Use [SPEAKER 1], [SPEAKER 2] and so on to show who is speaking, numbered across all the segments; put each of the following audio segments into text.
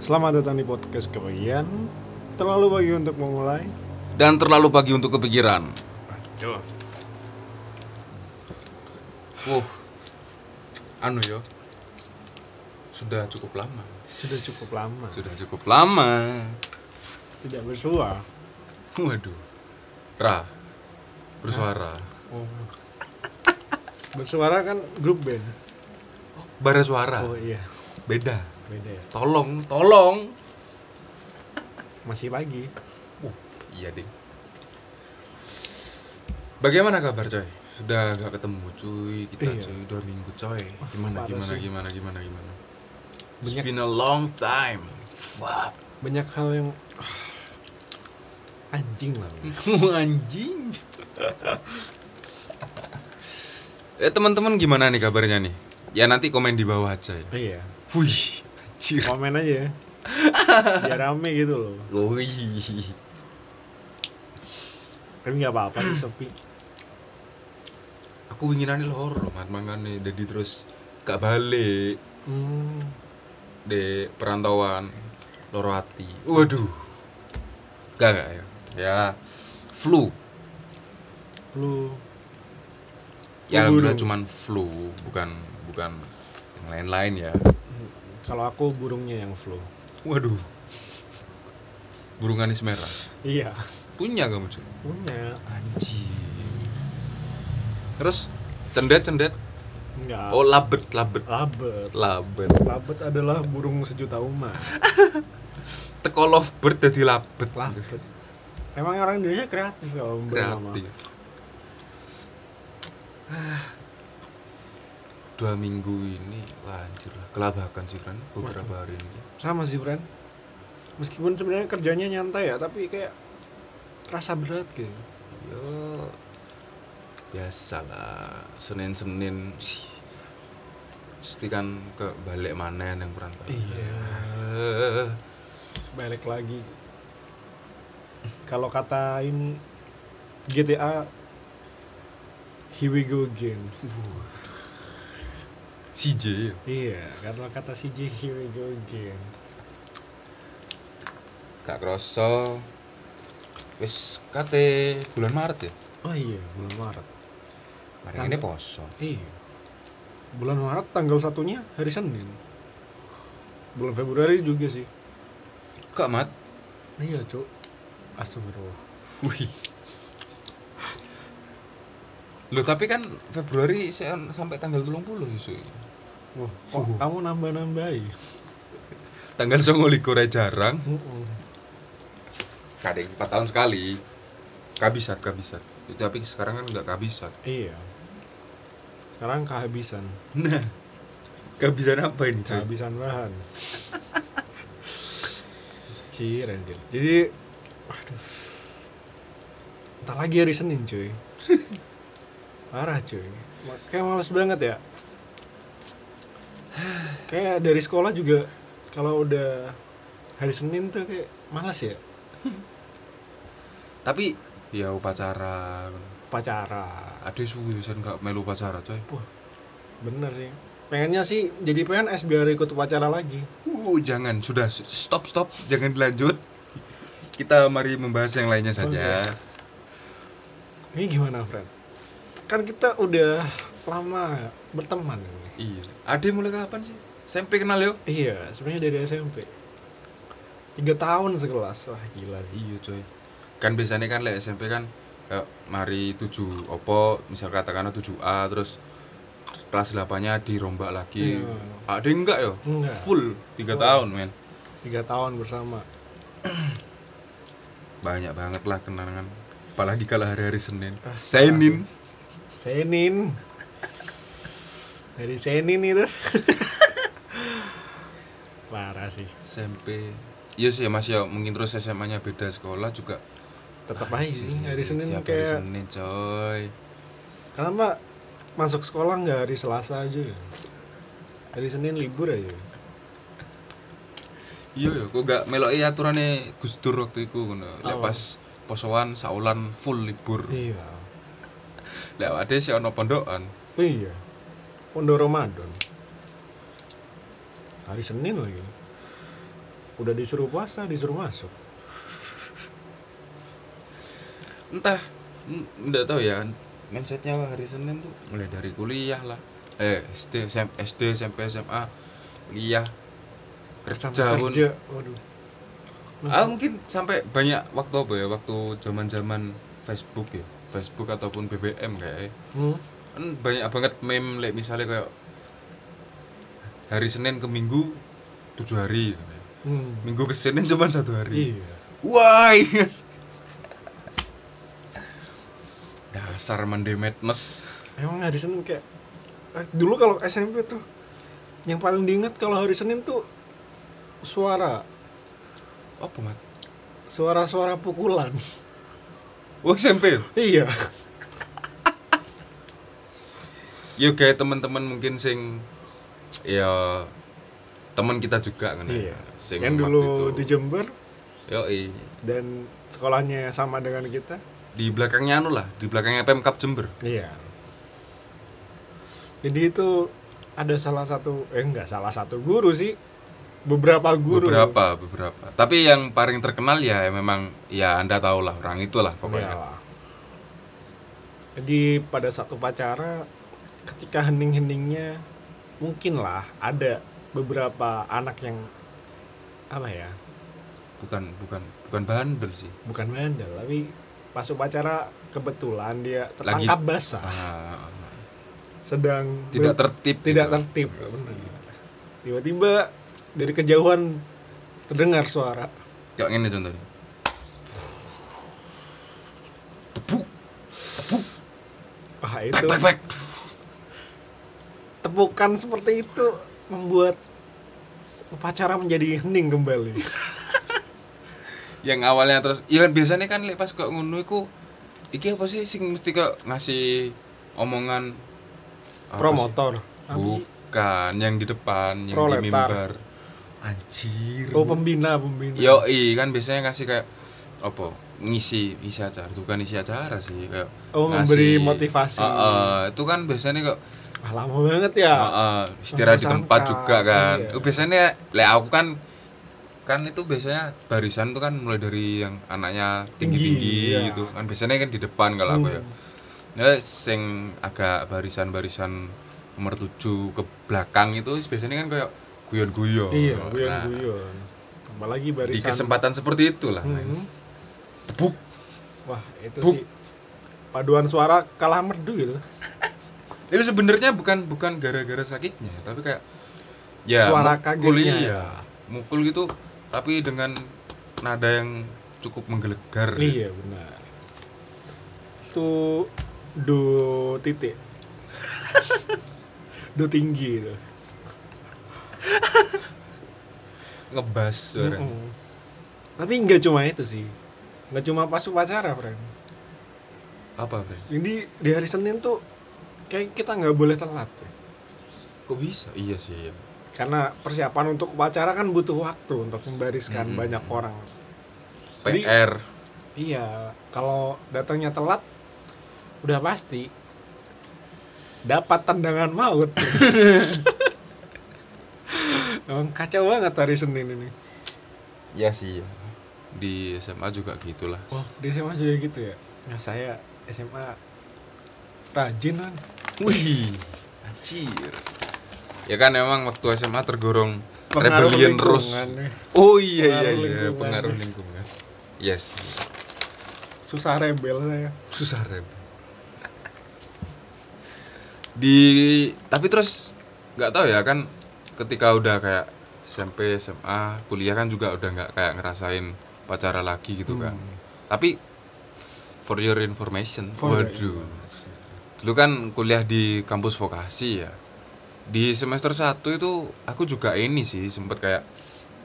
[SPEAKER 1] Selamat datang di podcast kebagian. Terlalu pagi untuk memulai.
[SPEAKER 2] dan terlalu pagi untuk kepikiran.
[SPEAKER 3] Yo,
[SPEAKER 2] Wuh, anu yo, sudah cukup lama.
[SPEAKER 1] Sudah cukup lama.
[SPEAKER 2] Sudah cukup lama.
[SPEAKER 1] Tidak bersua.
[SPEAKER 2] Waduh, Ra, bersuara.
[SPEAKER 1] Bersuara kan grup band.
[SPEAKER 2] Bara suara,
[SPEAKER 1] Oh iya,
[SPEAKER 2] beda.
[SPEAKER 1] beda ya.
[SPEAKER 2] Tolong, tolong.
[SPEAKER 1] Masih pagi.
[SPEAKER 2] Uh, iya ding. Bagaimana kabar coy? Sudah gak ketemu cuy, kita
[SPEAKER 1] Iya.
[SPEAKER 2] cuy dua minggu coy.
[SPEAKER 1] parah
[SPEAKER 2] Gimana gimana
[SPEAKER 1] sih.
[SPEAKER 2] gimana gimana gimana. It's
[SPEAKER 1] Banyak-
[SPEAKER 2] been a long time. Fuck.
[SPEAKER 1] Banyak hal yang ah, anjing lah.
[SPEAKER 2] anjing eh teman-teman gimana nih kabarnya nih ya nanti komen di bawah aja ya
[SPEAKER 1] Iya.
[SPEAKER 2] wih anjir
[SPEAKER 1] Komen aja ya. Biar rame gitu loh.
[SPEAKER 2] wih
[SPEAKER 1] Tapi nggak apa-apa sih sepi.
[SPEAKER 2] aku inginannya loro mat mangane jadi terus gak balik
[SPEAKER 1] Hmm.
[SPEAKER 2] di perantauan loro hati waduh gak gak ya ya flu
[SPEAKER 1] Lu
[SPEAKER 2] ya
[SPEAKER 1] Waduh.
[SPEAKER 2] alhamdulillah cuman flu bukan bukan yang lain-lain ya
[SPEAKER 1] kalau aku burungnya yang flu.
[SPEAKER 2] waduh burung anis merah
[SPEAKER 1] Iya.
[SPEAKER 2] punya kamu cuy
[SPEAKER 1] Punya.
[SPEAKER 2] Anjing. Terus cendet cendet.
[SPEAKER 1] Enggak.
[SPEAKER 2] Oh labet labet
[SPEAKER 1] Labet.
[SPEAKER 2] labet.
[SPEAKER 1] Labet adalah burung sejuta umat.
[SPEAKER 2] Teko lovebird jadi labet
[SPEAKER 1] Labet. Emang orang Indonesia kreatif ya, kalau memberi nama.
[SPEAKER 2] Kreatif. Ah. Dua minggu ini wah anjir lah kelabakan sih kan beberapa hari ini.
[SPEAKER 1] Sama sih, Fren. Meskipun sebenarnya kerjanya nyantai ya, tapi kayak terasa berat gitu.
[SPEAKER 2] Yo biasalah Senin Senin sih. Mesti kan ke balik mana yang perantauan. Iya.
[SPEAKER 1] Balik lagi. Kalau kata ini GTA Here we go again.
[SPEAKER 2] CJ.
[SPEAKER 1] Iya, kalau kata CJ Here we go again.
[SPEAKER 2] gak kroso wis kate bulan Maret ya
[SPEAKER 1] Oh iya, bulan Maret.
[SPEAKER 2] hari
[SPEAKER 1] Tang-
[SPEAKER 2] ini poso
[SPEAKER 1] Iya. Bulan Maret tanggal satunya hari Senin. Bulan Februari juga sih.
[SPEAKER 2] gak mat
[SPEAKER 1] Iya, Cuk. Astagfirullah.
[SPEAKER 2] wih Loh tapi kan Februari saya sampai tanggal 30 isu
[SPEAKER 1] Wah, kok Oh, kamu nambah-nambahi?
[SPEAKER 2] tanggal songo likur jarang
[SPEAKER 1] Heeh.
[SPEAKER 2] kadang 4 tahun sekali kabisat kabisat Itu tapi sekarang kan nggak kabisat
[SPEAKER 1] Iya. Sekarang kehabisan,
[SPEAKER 2] nah kehabisan apa ini coy
[SPEAKER 1] kehabisan bahan. Cir, anjir. Jadi aduh. Entar lagi hari Senin, cuy. Parah, cuy. Ma- Kayak males banget ya. Kayak dari sekolah juga kalau udah hari Senin tuh kayak males ya
[SPEAKER 2] tapi ya upacara
[SPEAKER 1] pacara.
[SPEAKER 2] ada suwi sen nggak melu upacara coy
[SPEAKER 1] Bener sih. Pengennya sih jadi PNS biar ikut upacara lagi.
[SPEAKER 2] Uh, jangan sudah stop stop jangan dilanjut. Kita mari membahas yang lainnya saja.
[SPEAKER 1] Ini gimana, Fred? Kan kita udah lama berteman ini.
[SPEAKER 2] Iya. Ade mulai kapan sih? SMP kenal yo?
[SPEAKER 1] Iya, sebenarnya dari SMP. Tiga tahun sekelas, wah gila sih.
[SPEAKER 2] Iya coy. Kan biasanya kan lek SMP kan kayak mari 7 opo misal katakanlah 7A terus kelas 8-nya dirombak lagi.
[SPEAKER 1] Iya.
[SPEAKER 2] Ade enggak yo?
[SPEAKER 1] Enggak.
[SPEAKER 2] Full 3 tahun men.
[SPEAKER 1] Tiga tahun bersama.
[SPEAKER 2] Banyak banget lah kenangan. Apalagi kalau hari-hari Senin. Senin.
[SPEAKER 1] Senin. Dari Senin itu. Parah sih.
[SPEAKER 2] SMP. Iya sih Mas ya, mungkin terus SMA-nya beda sekolah juga
[SPEAKER 1] Tetap aja Ah, iya sih hari Senin
[SPEAKER 2] tiap hari
[SPEAKER 1] kayak
[SPEAKER 2] Senin coy
[SPEAKER 1] kenapa masuk sekolah nggak hari Selasa aja ya? Hari Senin libur aja. ya?
[SPEAKER 2] iya ya kok gak meloki aturane Gus Dur waktu itu ngono lek
[SPEAKER 1] Apa?
[SPEAKER 2] pas posoan saulan full libur
[SPEAKER 1] Iya.
[SPEAKER 2] lek ade sih ono pondokan
[SPEAKER 1] Iya. Pondok Ramadan. Hari Senin lagi. udah disuruh puasa disuruh masuk
[SPEAKER 2] entah n- nggak tahu ya mindsetnya hari Senin tuh mulai dari kuliah lah eh SD SM, SD SMP SMA kuliah kerja,
[SPEAKER 1] Sampai
[SPEAKER 2] pun
[SPEAKER 1] kerja waduh
[SPEAKER 2] ah mungkin sampai banyak waktu apa ya waktu zaman zaman Facebook ya Facebook ataupun BBM kayak
[SPEAKER 1] Hmm.
[SPEAKER 2] kan banyak banget meme like misalnya kayak hari Senin ke Minggu tujuh hari
[SPEAKER 1] Hmm.
[SPEAKER 2] Minggu ke Senin cuma satu hari
[SPEAKER 1] iya
[SPEAKER 2] Why? Dasar mendemet mes.
[SPEAKER 1] emang hari Senin kayak eh, dulu kalau SMP tuh yang paling diingat kalau hari Senin tuh suara
[SPEAKER 2] Apa mat?
[SPEAKER 1] suara-suara pukulan
[SPEAKER 2] Oh SMP.
[SPEAKER 1] iya
[SPEAKER 2] Ya kayak teman-teman mungkin sing ya teman kita juga kan. ya.
[SPEAKER 1] Iya.
[SPEAKER 2] Sing
[SPEAKER 1] yang
[SPEAKER 2] waktu
[SPEAKER 1] dulu
[SPEAKER 2] itu.
[SPEAKER 1] di Jember
[SPEAKER 2] Yoi.
[SPEAKER 1] dan sekolahnya sama dengan kita
[SPEAKER 2] di belakangnya anu lah, di belakangnya Pemkap Jember.
[SPEAKER 1] Iya. Jadi itu ada salah satu eh enggak salah satu guru sih. Beberapa guru.
[SPEAKER 2] Beberapa, beberapa. Tapi yang paling terkenal ya memang ya Anda tahu lah orang itulah pokoknya.
[SPEAKER 1] Iya. Jadi pada satu upacara ketika hening-heningnya mungkin lah ada beberapa anak yang apa ya?
[SPEAKER 2] Bukan bukan bukan bandel sih.
[SPEAKER 1] Bukan bandel tapi pas upacara kebetulan dia
[SPEAKER 2] Lagi-
[SPEAKER 1] tertangkap basah
[SPEAKER 2] Ah,
[SPEAKER 1] sedang
[SPEAKER 2] tidak
[SPEAKER 1] ber-
[SPEAKER 2] tertib.
[SPEAKER 1] tidak
[SPEAKER 2] gitu.
[SPEAKER 1] tertib tiba-tiba dari kejauhan terdengar suara
[SPEAKER 2] Kayak gini contohnya. Tepuk,
[SPEAKER 1] wah
[SPEAKER 2] pek,
[SPEAKER 1] itu
[SPEAKER 2] pek, pek.
[SPEAKER 1] tepukan seperti itu membuat upacara menjadi hening kembali
[SPEAKER 2] Yang awalnya terus, iya kan biasanya kan lek pas kok ngono iku iki apa sih sing mesti kok ngasih omongan apa
[SPEAKER 1] promotor
[SPEAKER 2] sih?
[SPEAKER 1] Apa sih?
[SPEAKER 2] Bukan, yang di depan, yang
[SPEAKER 1] Proletar.
[SPEAKER 2] di mimbar. Anjir.
[SPEAKER 1] oh pembina pembina
[SPEAKER 2] Yoi, kan biasanya ngasih kayak apa? Ngisi isi acara, bukan isi acara sih, kayak
[SPEAKER 1] Oh, memberi
[SPEAKER 2] ngasih-
[SPEAKER 1] motivasi.
[SPEAKER 2] Heeh, itu kan biasanya kok
[SPEAKER 1] ah, lama banget ya
[SPEAKER 2] Heeh, istirahat di
[SPEAKER 1] Sampai
[SPEAKER 2] tempat
[SPEAKER 1] sangka,
[SPEAKER 2] juga kan.
[SPEAKER 1] iya.
[SPEAKER 2] Eh, Biasanya le aku kan kan itu biasanya barisan tuh kan mulai dari yang anaknya
[SPEAKER 1] Tinggi,
[SPEAKER 2] tinggi-tinggi
[SPEAKER 1] iya.
[SPEAKER 2] gitu kan biasanya kan di depan kalau aku ya.
[SPEAKER 1] Hmm.
[SPEAKER 2] Ya sing agak barisan-barisan nomor 7 ke belakang itu biasanya kan kayak guyon-guyon.
[SPEAKER 1] iya
[SPEAKER 2] Nah,
[SPEAKER 1] guyon guyon apalagi
[SPEAKER 2] Di
[SPEAKER 1] barisan
[SPEAKER 2] kesempatan seperti itulah.
[SPEAKER 1] Hmm.
[SPEAKER 2] Tepuk.
[SPEAKER 1] wah itu
[SPEAKER 2] Buk.
[SPEAKER 1] sih paduan suara kalah merdu gitu
[SPEAKER 2] Itu sebenarnya bukan bukan gara-gara sakitnya, tapi kayak ya
[SPEAKER 1] Suara
[SPEAKER 2] mukul,
[SPEAKER 1] kagetnya. ya.
[SPEAKER 2] iya. Mukul gitu tapi dengan nada yang cukup menggelegar.
[SPEAKER 1] iya benar itu do titik do tinggi itu
[SPEAKER 2] Ngebas suara.
[SPEAKER 1] Mm-mm. Tapi nggak cuma itu sih. Nggak cuma pas upacara, friend.
[SPEAKER 2] Apa, Bre?
[SPEAKER 1] Jadi di hari Senin tuh kayak kita nggak boleh telat. ya.
[SPEAKER 2] Kok bisa? Iya sih, iya.
[SPEAKER 1] Karena persiapan untuk upacara kan butuh waktu untuk membariskan
[SPEAKER 2] Mm-mm.
[SPEAKER 1] banyak orang. Jadi-
[SPEAKER 2] PR.
[SPEAKER 1] Iya, kalau datangnya telat udah pasti dapat tendangan maut. Emang kacau banget hari Senin ini.
[SPEAKER 2] Iya sih, iya. Di SMA juga gitulah.
[SPEAKER 1] Wah, di SMA juga gitu ya. Nah, saya SMA rajin kan.
[SPEAKER 2] Wih. Anjir. Ya kan memang waktu SMA tergorong
[SPEAKER 1] Pengaruh
[SPEAKER 2] rebellion terus.
[SPEAKER 1] lingkungan ya.
[SPEAKER 2] Oh iya iya
[SPEAKER 1] Pengaruh
[SPEAKER 2] iya,
[SPEAKER 1] lingkungan.
[SPEAKER 2] pengaruh lingkungan. Yes.
[SPEAKER 1] susah rebel saya
[SPEAKER 2] susah rem di tapi terus nggak tahu ya kan ketika udah kayak SMP SMA kuliah kan juga udah nggak kayak ngerasain pacara lagi gitu kan
[SPEAKER 1] Hmm.
[SPEAKER 2] tapi for your information
[SPEAKER 1] For your
[SPEAKER 2] waduh dulu kan kuliah di kampus vokasi ya di semester 1 itu aku juga ini sih sempet kayak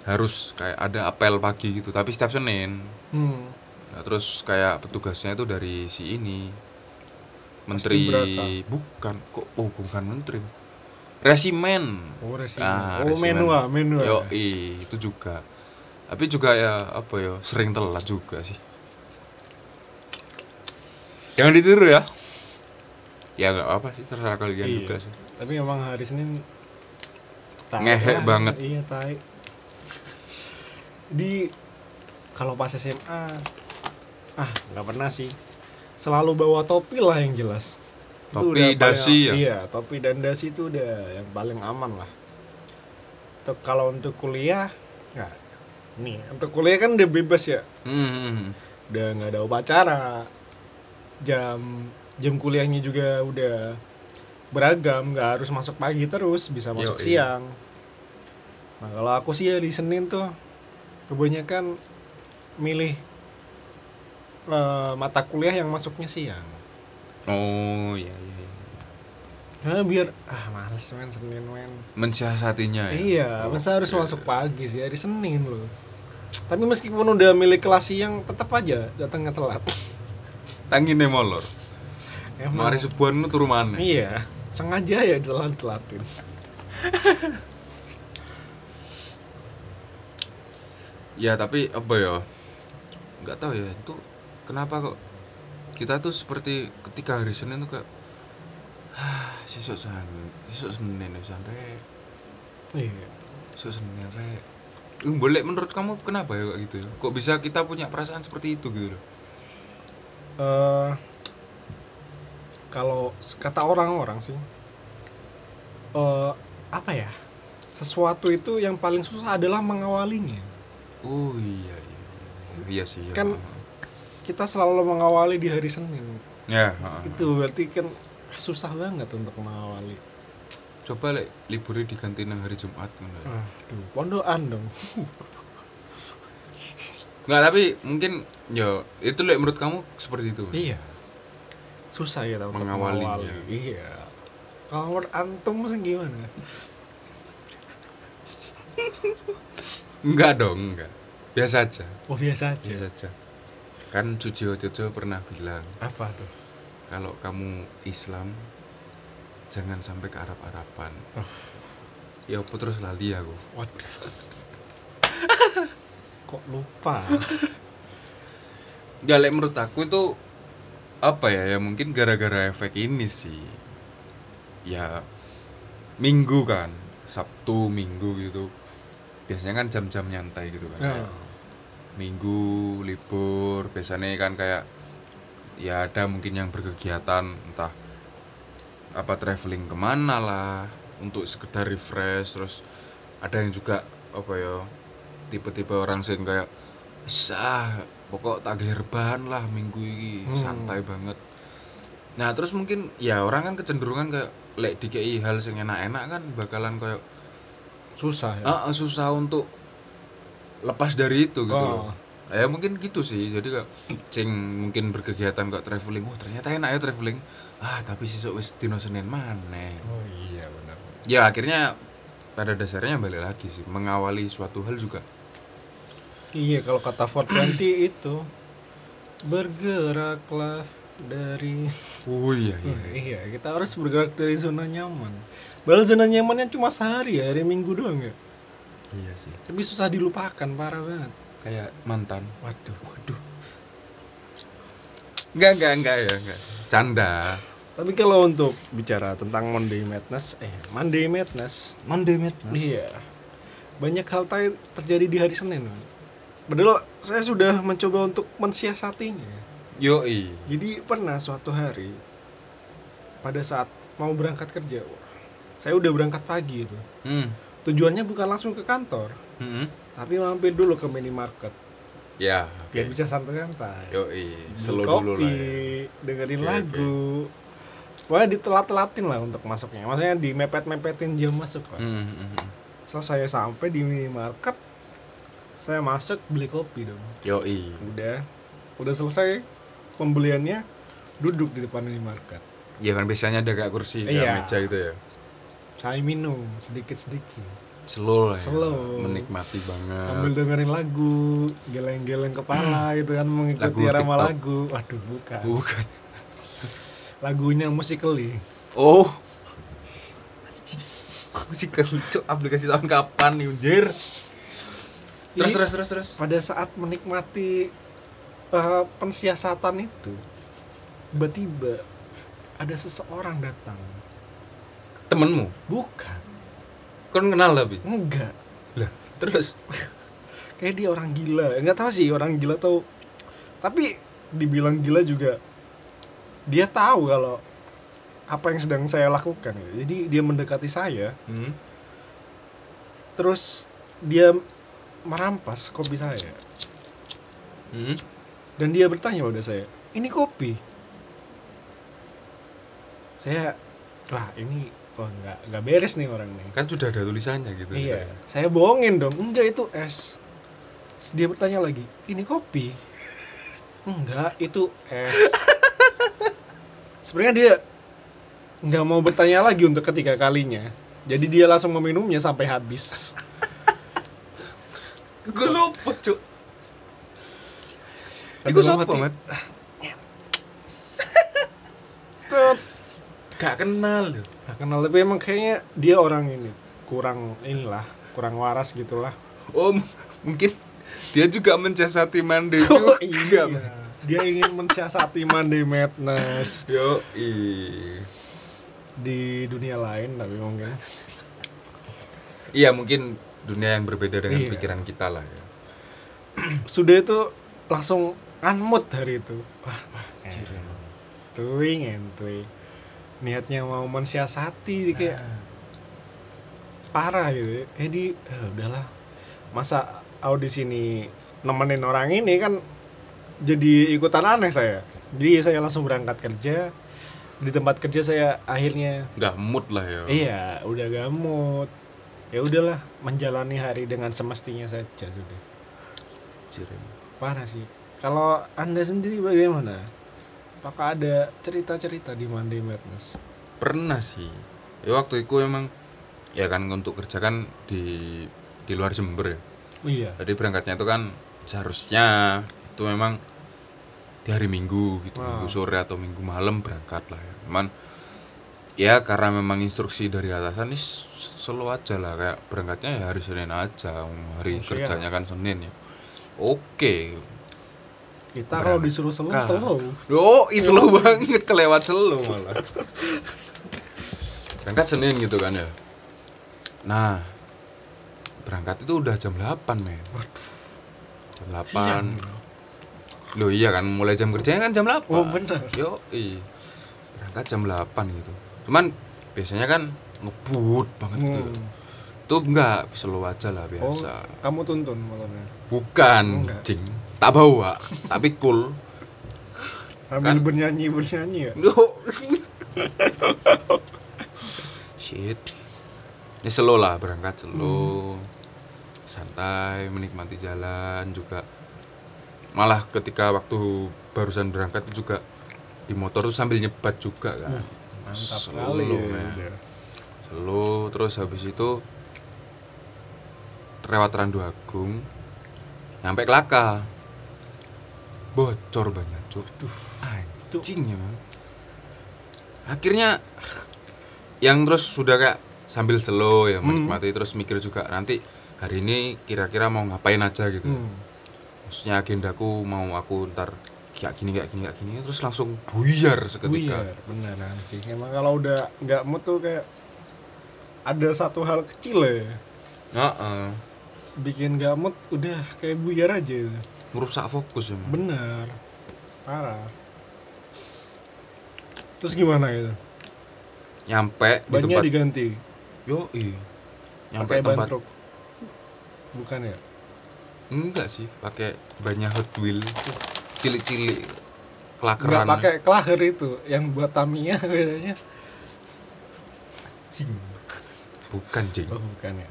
[SPEAKER 2] harus kayak ada apel pagi gitu tapi setiap Senin
[SPEAKER 1] hmm.
[SPEAKER 2] Nah, terus kayak petugasnya itu dari si ini menteri
[SPEAKER 1] Braka.
[SPEAKER 2] bukan kok oh, bukan menteri resimen
[SPEAKER 1] oh resimen
[SPEAKER 2] Ah,
[SPEAKER 1] oh
[SPEAKER 2] resimen.
[SPEAKER 1] menua menua
[SPEAKER 2] yo itu juga tapi juga ya apa ya sering telat juga sih jangan ditiru ya ya nggak apa sih terserah kalian
[SPEAKER 1] Iya.
[SPEAKER 2] juga sih
[SPEAKER 1] tapi emang hari senin tai
[SPEAKER 2] Ngehek banget.
[SPEAKER 1] iya tai di kalau pas SMA ah nggak pernah sih selalu bawa topi lah yang jelas Itu
[SPEAKER 2] Topi,
[SPEAKER 1] udah paling-
[SPEAKER 2] dasi ya?
[SPEAKER 1] iya topi dan dasi itu udah yang paling aman lah Untuk- kalau untuk kuliah ya nih untuk kuliah kan udah bebas ya
[SPEAKER 2] Hmm,
[SPEAKER 1] udah nggak ada upacara jam jam kuliahnya juga udah beragam nggak harus masuk pagi terus bisa masuk
[SPEAKER 2] Yoi.
[SPEAKER 1] siang nah kalau aku sih ya di Senin tuh kebanyakan milih eh, mata kuliah yang masuknya siang
[SPEAKER 2] Oh iya iya. iya.
[SPEAKER 1] karena biar ah males men Senin men
[SPEAKER 2] Mensiasatinya ya.
[SPEAKER 1] iya
[SPEAKER 2] Oh,
[SPEAKER 1] masa harus
[SPEAKER 2] iya,
[SPEAKER 1] masuk
[SPEAKER 2] iya.
[SPEAKER 1] pagi sih hari Senin loh tapi meskipun udah milih kelas siang tetap aja datangnya telat
[SPEAKER 2] Tangine molor.
[SPEAKER 1] emang
[SPEAKER 2] Mari sebuah nu turu maneh.
[SPEAKER 1] Iya, sengaja ya telat-telatin.
[SPEAKER 2] Ya tapi apa ya? Nggak tahu ya itu kenapa kok kita tuh seperti ketika hari Senin tuh kayak "Hah, sesuk Senin, sesuk Senin wis rek.
[SPEAKER 1] Iya.
[SPEAKER 2] Sesuk Senin rek. Ih, boleh menurut kamu kenapa ya kok gitu ya? Kok bisa kita punya perasaan seperti itu gitu loh?
[SPEAKER 1] Eh, kalau s- kata orang-orang sih, eh apa ya? Sesuatu itu yang paling susah adalah mengawalinya.
[SPEAKER 2] Oh iya iya. Iya sih. Iya.
[SPEAKER 1] Kan- Kita selalu mengawali di hari Senin.
[SPEAKER 2] ya, heeh.
[SPEAKER 1] Itu berarti kan susah banget untuk mengawali.
[SPEAKER 2] coba lek liburnya diganti nang hari Jumat ngono. ya.
[SPEAKER 1] Aduh, pondokan dong.
[SPEAKER 2] Nggak, tapi mungkin ya itu lek menurut kamu seperti itu.
[SPEAKER 1] Iya. Susah ya untuk
[SPEAKER 2] Mengawalinya.
[SPEAKER 1] mengawali. Iya. Kalau menurut antum sih gimana?
[SPEAKER 2] Enggak dong, enggak. Biasa aja.
[SPEAKER 1] Oh biasa aja.
[SPEAKER 2] Biasa aja. Kan Cucio Cucio pernah bilang
[SPEAKER 1] Apa tuh?
[SPEAKER 2] kalau kamu Islam jangan sampai ke Arab-Araban.
[SPEAKER 1] Oh.
[SPEAKER 2] Ya aku terus lali aku.
[SPEAKER 1] Waduh. Kok lupa?
[SPEAKER 2] Enggak, Ya, lek menurut aku itu apa ya? Ya mungkin gara-gara efek ini sih. Ya Minggu kan, Sabtu, Minggu gitu. Biasanya kan jam-jam nyantai gitu kan.
[SPEAKER 1] Ya.
[SPEAKER 2] minggu libur biasanya kan kayak ya ada mungkin yang berkegiatan entah apa traveling kemana lah untuk sekedar refresh terus ada yang juga apa ya tipe-tipe orang sing kayak sah pokok tak gerban lah minggu
[SPEAKER 1] Hmm.
[SPEAKER 2] ini santai banget nah terus mungkin ya orang kan kecenderungan kayak lek dikei hal sing enak-enak kan bakalan kayak
[SPEAKER 1] Susah ya.
[SPEAKER 2] "Ah, susah untuk lepas dari itu gitu
[SPEAKER 1] Oh.
[SPEAKER 2] loh ya mungkin gitu sih jadi kayak cing mungkin berkegiatan kok traveling oh ternyata enak ya traveling ah tapi sesuk wis dino senin maneh
[SPEAKER 1] Oh iya benar.
[SPEAKER 2] ya akhirnya pada dasarnya balik lagi sih mengawali suatu hal juga
[SPEAKER 1] Iya kalau kata 420 itu bergeraklah dari
[SPEAKER 2] oh iya iya
[SPEAKER 1] Oh, iya kita harus bergerak dari zona nyaman. Padahal zona nyamannya cuma sehari ya, hari Minggu doang ya.
[SPEAKER 2] iya sih
[SPEAKER 1] Tapi susah dilupakan, parah banget.
[SPEAKER 2] kayak mantan
[SPEAKER 1] Waduh, waduh.
[SPEAKER 2] enggak enggak enggak ya enggak canda
[SPEAKER 1] Tapi kalau untuk bicara tentang Monday Madness, eh Monday Madness,
[SPEAKER 2] Monday Madness
[SPEAKER 1] Iya. Banyak hal tai- terjadi di hari Senin. Man. Padahal saya sudah mencoba untuk mensiasatinya.
[SPEAKER 2] yoi
[SPEAKER 1] Jadi pernah suatu hari pada saat mau berangkat kerja, wah, saya udah berangkat pagi itu.
[SPEAKER 2] hmm.
[SPEAKER 1] Tujuannya bukan langsung ke kantor,
[SPEAKER 2] Hmm.
[SPEAKER 1] tapi mampir dulu ke minimarket
[SPEAKER 2] ya
[SPEAKER 1] biar
[SPEAKER 2] oke
[SPEAKER 1] bisa santai-santai.
[SPEAKER 2] yoi
[SPEAKER 1] Beli
[SPEAKER 2] slow
[SPEAKER 1] kopi,
[SPEAKER 2] dulu lah ya.
[SPEAKER 1] dengerin
[SPEAKER 2] Oke, oke.
[SPEAKER 1] lagu. Wah, ditelat-telatin lah untuk masuknya. Maksudnya dimepet-mepetin jam masuk lah.
[SPEAKER 2] Hmm, hmm, hmm.
[SPEAKER 1] Setelah saya sampai di minimarket, saya masuk beli kopi dong.
[SPEAKER 2] yoi
[SPEAKER 1] Udah, udah selesai pembeliannya, duduk di depan minimarket.
[SPEAKER 2] ya kan biasanya ada kayak kursi kayak
[SPEAKER 1] Iya.
[SPEAKER 2] meja gitu ya
[SPEAKER 1] Saya minum sedikit-sedikit,
[SPEAKER 2] slow lah ya.
[SPEAKER 1] Slow.
[SPEAKER 2] menikmati banget
[SPEAKER 1] sambil dengerin lagu, geleng-geleng kepala gitu kan mengikuti
[SPEAKER 2] Hmm. Lagu
[SPEAKER 1] irama
[SPEAKER 2] TikTok.
[SPEAKER 1] lagu. Waduh, bukan.
[SPEAKER 2] bukan
[SPEAKER 1] Lagunya musically.
[SPEAKER 2] oh masih kelucu aplikasi tahun kapan nih anjir terus
[SPEAKER 1] Jadi,
[SPEAKER 2] terus terus terus
[SPEAKER 1] Pada saat menikmati eh, pensiasatan itu, tiba-tiba ada seseorang datang.
[SPEAKER 2] temenmu
[SPEAKER 1] Bukan,
[SPEAKER 2] kan kenal tapi
[SPEAKER 1] enggak.
[SPEAKER 2] lah terus
[SPEAKER 1] kayak dia orang gila nggak tahu sih orang gila atau tapi dibilang gila juga dia tahu kalau apa yang sedang saya lakukan jadi dia mendekati saya
[SPEAKER 2] Hmm.
[SPEAKER 1] terus dia merampas kopi saya
[SPEAKER 2] Hmm.
[SPEAKER 1] dan dia bertanya pada saya ini kopi saya wah ini wah nggak nggak beres nih orang nih
[SPEAKER 2] Kan sudah ada tulisannya gitu.
[SPEAKER 1] iya
[SPEAKER 2] ceritanya.
[SPEAKER 1] saya bohongin dong enggak itu es Terus dia bertanya lagi ini kopi enggak itu es sebenarnya dia nggak mau bertanya lagi untuk ketiga kalinya jadi dia langsung meminumnya sampai habis
[SPEAKER 2] Gue sopo, Cuk.
[SPEAKER 1] Aduh,
[SPEAKER 2] Iku sopo,
[SPEAKER 1] mati.
[SPEAKER 2] Mat?
[SPEAKER 1] Tut.
[SPEAKER 2] Gak kenal loh.
[SPEAKER 1] Gak kenal tapi emang kayaknya dia orang ini kurang inilah kurang waras gitulah
[SPEAKER 2] Om, Oh, mungkin dia juga mencesati mande
[SPEAKER 1] Oh,
[SPEAKER 2] juga.
[SPEAKER 1] iya.
[SPEAKER 2] iya,
[SPEAKER 1] dia ingin mensiasati Monday Madness
[SPEAKER 2] Yo,
[SPEAKER 1] di dunia lain tapi mungkin
[SPEAKER 2] Iya, mungkin dunia yang berbeda dengan
[SPEAKER 1] Iya.
[SPEAKER 2] pikiran kita lah ya.
[SPEAKER 1] sudah itu langsung unmute hari itu wah wah, entuing entuing niatnya mau mensiasati kayak parah gitu eh di eh, udahlah masa audisi ini nemenin orang ini kan jadi ikutan aneh saya jadi saya langsung berangkat kerja di tempat kerja saya akhirnya
[SPEAKER 2] Gak mood lah ya.
[SPEAKER 1] iya udah gamut ya udahlah menjalani hari dengan semestinya saja sudah
[SPEAKER 2] Anjir, emang.
[SPEAKER 1] parah sih kalau anda sendiri bagaimana apakah ada cerita-cerita di Monday Madness
[SPEAKER 2] Pernah sih. Ya waktu itu emang ya kan untuk kerja kan di di luar Jember ya.
[SPEAKER 1] iya
[SPEAKER 2] Jadi berangkatnya itu kan seharusnya itu memang di hari Minggu gitu,
[SPEAKER 1] Wow.
[SPEAKER 2] Minggu sore atau Minggu malam berangkat lah ya. Cuman ya karena memang instruksi dari atasan ini s- slow aja lah kayak berangkatnya ya hari Senin aja,
[SPEAKER 1] Oh,
[SPEAKER 2] hari
[SPEAKER 1] siap.
[SPEAKER 2] kerjanya kan Senin ya. Oke.
[SPEAKER 1] kita kalau disuruh slow
[SPEAKER 2] Berangkat.
[SPEAKER 1] slow
[SPEAKER 2] Oh, ih, slow banget kelewat slow malah. berangkat Senin gitu kan ya. Nah, berangkat itu udah jam 8, men. Jam
[SPEAKER 1] Iya,
[SPEAKER 2] 8. Loh iya kan, mulai jam kerjanya kan jam 8.
[SPEAKER 1] Oh, bener.
[SPEAKER 2] Yo, Berangkat jam 8 gitu. Cuman biasanya kan ngebut banget gitu.
[SPEAKER 1] Hmm.
[SPEAKER 2] Tuh enggak, slow aja lah
[SPEAKER 1] oh
[SPEAKER 2] biasa.
[SPEAKER 1] kamu tuntun malamnya
[SPEAKER 2] Bukan,
[SPEAKER 1] Enggak.
[SPEAKER 2] jing. Tak bawa, tapi cool.
[SPEAKER 1] sambil bernyanyi bernyanyi ya
[SPEAKER 2] No. Shit. Ini slow lah berangkat slow. Santai menikmati jalan juga. Malah ketika waktu barusan berangkat juga di motor tuh sambil nyebat juga kan.
[SPEAKER 1] mantap
[SPEAKER 2] Slow,
[SPEAKER 1] sekali ya.
[SPEAKER 2] man.
[SPEAKER 1] udah.
[SPEAKER 2] Slow terus habis itu lewat Randu Agung nyampe Kelaka. Bocor banyak, Cuk. Duh, anjing emang. Akhirnya yang terus sudah kayak sambil slow ya
[SPEAKER 1] Hmm.
[SPEAKER 2] menikmati terus mikir juga nanti hari ini kira-kira mau ngapain aja gitu.
[SPEAKER 1] Hmm.
[SPEAKER 2] Maksudnya agendaku mau aku ntar kayak gini kayak gini kayak gini terus langsung buyar seketika.
[SPEAKER 1] Buyar, beneran sih. Emang kalau udah nggak mood tuh kayak ada satu hal kecil ya
[SPEAKER 2] Heeh.
[SPEAKER 1] bikin nggak mood udah kayak buyar aja itu.
[SPEAKER 2] Merusak fokus ya, emang.
[SPEAKER 1] bener parah terus gimana itu
[SPEAKER 2] nyampe di
[SPEAKER 1] bannya
[SPEAKER 2] tempat
[SPEAKER 1] diganti
[SPEAKER 2] Yoi. Nyampe
[SPEAKER 1] pakai ban
[SPEAKER 2] tempat
[SPEAKER 1] truk bukan ya
[SPEAKER 2] enggak sih, pakai banyak Hot Wheel. Cilik-cilik.
[SPEAKER 1] nggak
[SPEAKER 2] Kelakeran.
[SPEAKER 1] pakai klaher itu yang buat taminya biasanya
[SPEAKER 2] Bukan, Jing.
[SPEAKER 1] oh bukan ya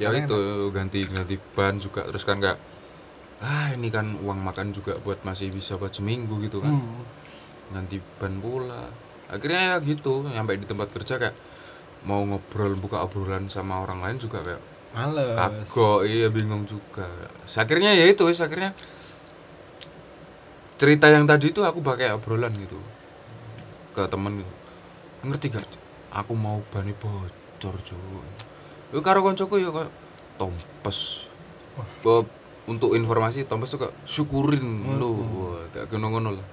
[SPEAKER 2] Ya
[SPEAKER 1] Karena
[SPEAKER 2] itu ganti-ganti ban juga terus kan enggak ah ini kan uang makan juga buat masih bisa buat seminggu gitu kan.
[SPEAKER 1] Hmm.
[SPEAKER 2] Ganti ban pula. Akhirnya ya gitu, nyampe di tempat kerja kayak mau ngobrol buka obrolan sama orang lain juga kayak
[SPEAKER 1] males
[SPEAKER 2] kagok iya bingung juga akhirnya ya itu wis, akhirnya cerita yang tadi itu aku pakai obrolan gitu ke temen gitu ngerti gak aku mau bani bocor cuy lu karo koncoku ya kayak tompes Be- untuk informasi tompes tuh kayak syukurin lu Wah, kayak ngono-ngono lah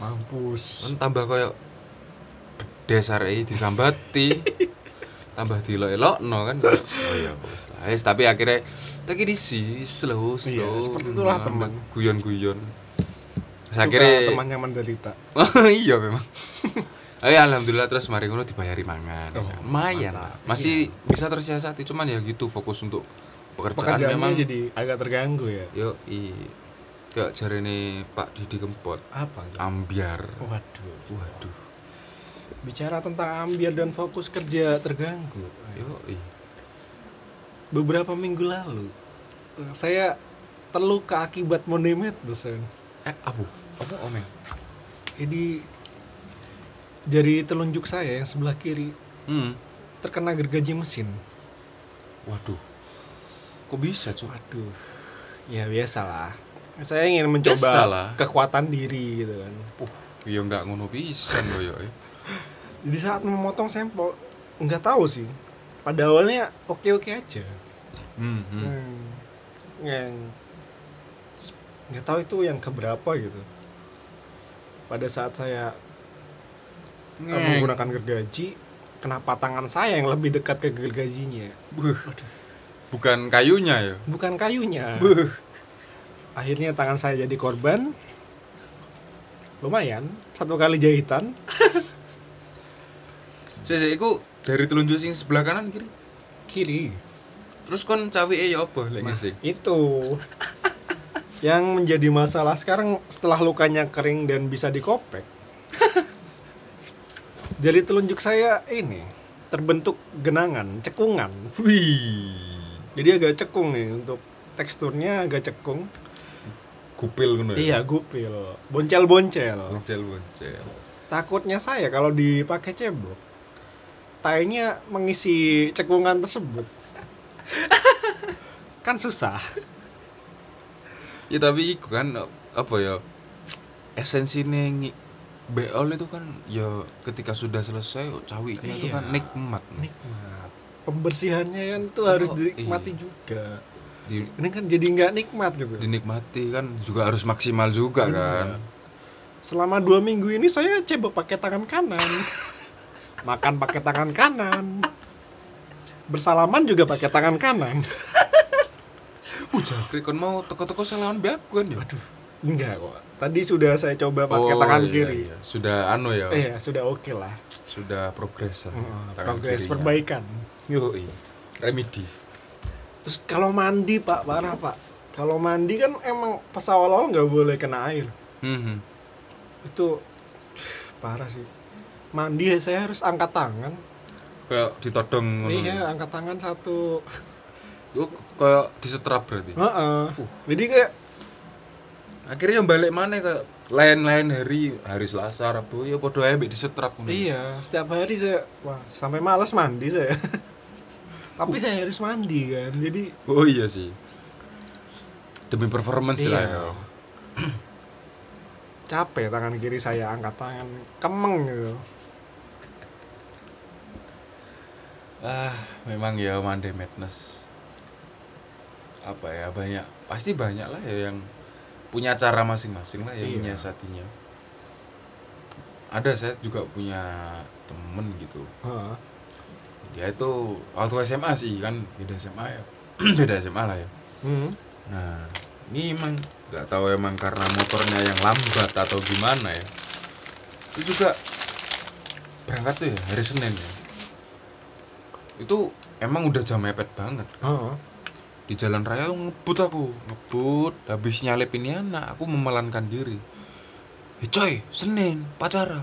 [SPEAKER 1] mampus
[SPEAKER 2] kan tambah kayak bedes arek disambati tambah dielok-elok no kan oh iya wes lah. Wes, tapi akhirnya tapi disi slow
[SPEAKER 1] Iya,
[SPEAKER 2] slow
[SPEAKER 1] seperti itulah teman.
[SPEAKER 2] guyon guyon
[SPEAKER 1] Suka
[SPEAKER 2] saya kira
[SPEAKER 1] teman yang menderita
[SPEAKER 2] iya memang Eh alhamdulillah terus mari ngono dibayari mangan.
[SPEAKER 1] Oh, Iya.
[SPEAKER 2] Lumayan lah. Masih bisa tersiasati cuman ya gitu fokus untuk pekerjaan,
[SPEAKER 1] pekerjaannya gitu.
[SPEAKER 2] memang.
[SPEAKER 1] jadi agak terganggu ya
[SPEAKER 2] Yo i. Kayak jarene Pak Didi Kempot,
[SPEAKER 1] apa itu?
[SPEAKER 2] ambiar.
[SPEAKER 1] Oh. waduh
[SPEAKER 2] Waduh.
[SPEAKER 1] bicara tentang ambiar dan fokus kerja terganggu
[SPEAKER 2] Yo i.
[SPEAKER 1] beberapa minggu lalu eh, saya terluka akibat monemet dosen
[SPEAKER 2] Eh abu. Apa omeng?
[SPEAKER 1] jadi jari telunjuk saya yang sebelah kiri
[SPEAKER 2] Hmm.
[SPEAKER 1] terkena gergaji mesin
[SPEAKER 2] Waduh. Kok bisa, Cuk?
[SPEAKER 1] waduh ya biasalah saya ingin mencoba
[SPEAKER 2] Biasalah.
[SPEAKER 1] kekuatan diri gitu kan
[SPEAKER 2] Uh, ya enggak ngono pisan loh ya, eh. yo. i.
[SPEAKER 1] di saat memotong sampel nggak tahu sih pada awalnya oke oke aja
[SPEAKER 2] Hmm. hmm.
[SPEAKER 1] Hmm. yang nggak tahu itu yang keberapa gitu pada saat saya eh,
[SPEAKER 2] Ngeng.
[SPEAKER 1] menggunakan gergaji kenapa tangan saya yang lebih dekat ke gergajinya
[SPEAKER 2] Buh. Bukan kayunya ya.
[SPEAKER 1] bukan kayunya akhirnya tangan saya jadi korban lumayan satu kali jahitan
[SPEAKER 2] Sesek iku dari telunjuk sing sebelah kanan kiri.
[SPEAKER 1] kiri
[SPEAKER 2] Terus kon cawike ya apa lek ngising?
[SPEAKER 1] itu yang menjadi masalah sekarang setelah lukanya kering dan bisa dikopek jari telunjuk saya ini terbentuk genangan cekungan
[SPEAKER 2] Wih.
[SPEAKER 1] jadi agak cekung nih untuk teksturnya agak cekung
[SPEAKER 2] Kupil ngono ya.
[SPEAKER 1] iya gupil boncel boncel
[SPEAKER 2] Boncel boncel.
[SPEAKER 1] takutnya saya kalau dipakai cebok tainya mengisi cekungan tersebut kan susah
[SPEAKER 2] Ya tapi iku kan apa ya? Esensi nih beol itu kan ya ketika sudah selesai cawinya itu
[SPEAKER 1] Iya.
[SPEAKER 2] kan nikmat.
[SPEAKER 1] nikmat Nah, pembersihannya kan tuh
[SPEAKER 2] Oh,
[SPEAKER 1] harus dinikmati
[SPEAKER 2] iya.
[SPEAKER 1] juga
[SPEAKER 2] Di-
[SPEAKER 1] ini kan jadi nggak nikmat gitu
[SPEAKER 2] dinikmati kan juga harus maksimal
[SPEAKER 1] Iya.
[SPEAKER 2] juga kan.
[SPEAKER 1] selama dua minggu ini saya coba pakai tangan kanan makan pakai tangan kanan bersalaman juga pakai tangan kanan
[SPEAKER 2] Ujak kon mau teko-teko salaman be aku kan ya. Aduh,
[SPEAKER 1] enggak kok tadi sudah saya coba
[SPEAKER 2] Oh,
[SPEAKER 1] pakai tangan kiri
[SPEAKER 2] iya, Sudah anu ya.
[SPEAKER 1] Eh, ya sudah oke lah
[SPEAKER 2] Sudah progres lah.
[SPEAKER 1] Hmm,
[SPEAKER 2] tangan ya.
[SPEAKER 1] progres
[SPEAKER 2] kirinya.
[SPEAKER 1] perbaikan
[SPEAKER 2] Yoi. Remedi.
[SPEAKER 1] terus kalau mandi pak parah pak kalau mandi kan emang pas awal-awal nggak boleh kena air Mhm.
[SPEAKER 2] Hmm.
[SPEAKER 1] itu parah sih mandi ya saya harus angkat tangan
[SPEAKER 2] Kayak ditodong ngono.
[SPEAKER 1] iya angkat tangan satu
[SPEAKER 2] Yo kayak disetrap berarti.
[SPEAKER 1] Heeh. jadi kayak
[SPEAKER 2] akhirnya balik mana ke lain-lain hari hari Selasa Rabu ya podo ae mbek disetrap ngono. ya.
[SPEAKER 1] iya setiap hari saya wah sampai malas mandi saya tapi saya harus mandi kan jadi
[SPEAKER 2] Oh iya sih. Demi performance
[SPEAKER 1] Iya.
[SPEAKER 2] lah ya.
[SPEAKER 1] capek tangan kiri saya angkat tangan kemeng gitu
[SPEAKER 2] Ah, memang ya Monday Madness. Apa ya banyak pasti banyak lah ya yang punya cara masing-masing lah yang
[SPEAKER 1] Iya.
[SPEAKER 2] menyiasatinya. Ada saya juga punya temen gitu.
[SPEAKER 1] Heeh.
[SPEAKER 2] Dia itu waktu SMA sih kan beda SMA ya. beda SMA lah ya.
[SPEAKER 1] Hmm.
[SPEAKER 2] Nah, ini emang nggak tahu emang karena motornya yang lambat atau gimana ya. Itu juga berangkat tuh ya hari Senin ya. Itu emang udah jam mepet banget.
[SPEAKER 1] Heeh.
[SPEAKER 2] Di jalan raya tuh ngebut aku, ngebut. Habis nyalip ini anak, aku memelankan diri. Eh coy, Senin, pacara.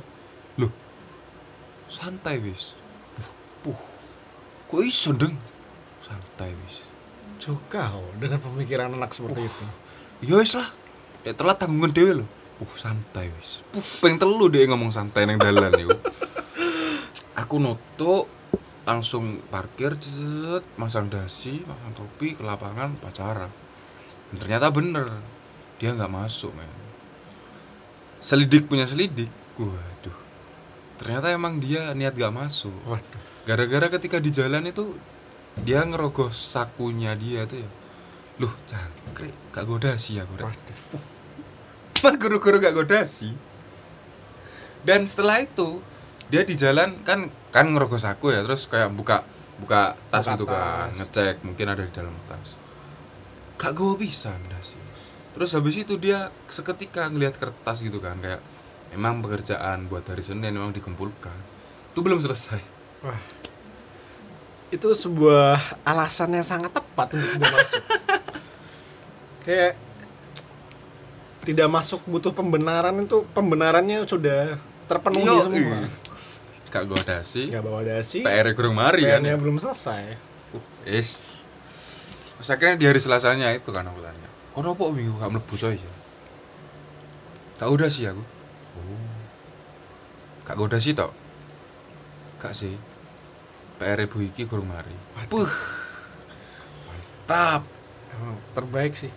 [SPEAKER 2] Loh, santai wis. Puh, kok iso deng? Santai wis.
[SPEAKER 1] Cukau oh, dengan pemikiran anak seperti itu
[SPEAKER 2] ya wis lah dek telat tanggungan dhewe lho uh santai wis Puh, peng telu dek ngomong santai nang dalan niku aku nutuk langsung parkir cet, masang dasi masang topi ke lapangan pacaran Dan ternyata bener dia nggak masuk men selidik punya selidik waduh ternyata emang dia niat gak masuk
[SPEAKER 1] waduh
[SPEAKER 2] gara-gara ketika di jalan itu dia ngerogoh sakunya dia tuh ya loh cangkrik gak godasi ya gue
[SPEAKER 1] waduh
[SPEAKER 2] cuman guru-guru gak godasi dan setelah itu dia di jalan kan kan ngerogoh saku ya terus kayak buka buka tas
[SPEAKER 1] Buka
[SPEAKER 2] gitu kan
[SPEAKER 1] tas.
[SPEAKER 2] ngecek mungkin ada di dalam tas gak gue bisa ndas terus habis itu dia seketika ngelihat kertas gitu kan kayak memang pekerjaan buat hari Senin memang dikumpulkan itu belum selesai
[SPEAKER 1] Wah. Itu sebuah alasan yang sangat tepat untuk gue masuk. Kayak tidak masuk butuh pembenaran itu pembenarannya sudah terpenuhi
[SPEAKER 2] Yo,
[SPEAKER 1] semua. Iya.
[SPEAKER 2] ih. gak gue dasi
[SPEAKER 1] Gak bawa dasi.
[SPEAKER 2] PR kurang mari kan
[SPEAKER 1] PR-nya belum selesai.
[SPEAKER 2] Uh, Is. Terus akhirnya di hari Selasanya itu kan aku tanya. Kenapa minggu gak mlebu coy ya? Gak udah sih aku. Oh. Gak udah sih tok. Gak sih. PR ibu iki kurang mari. Puh. Mantap.
[SPEAKER 1] Emang terbaik sih.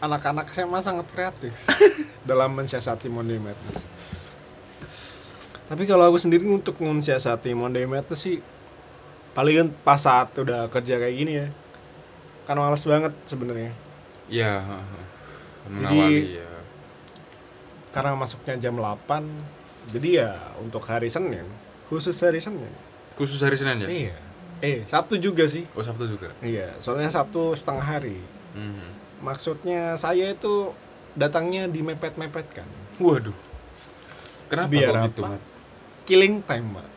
[SPEAKER 1] Anak-anak SMA sangat kreatif dalam mensiasati Monday Madness. Tapi kalau aku sendiri untuk mensiasati Monday Madness sih palingan pas saat udah kerja kayak gini ya. Kan males banget sebenarnya.
[SPEAKER 2] Iya, heeh. Mengawali ya.
[SPEAKER 1] Karena masuknya jam 8. Jadi ya untuk hari Senin, khusus hari Senin.
[SPEAKER 2] Khusus hari Senin ya?
[SPEAKER 1] Iya. Eh, Sabtu juga sih.
[SPEAKER 2] Oh, Sabtu juga.
[SPEAKER 1] Iya, soalnya Sabtu setengah hari.
[SPEAKER 2] Mhm.
[SPEAKER 1] Maksudnya saya itu datangnya di mepet-mepet kan.
[SPEAKER 2] Waduh. Kenapa
[SPEAKER 1] Biar
[SPEAKER 2] kok gitu?
[SPEAKER 1] apa? Killing time, Pak.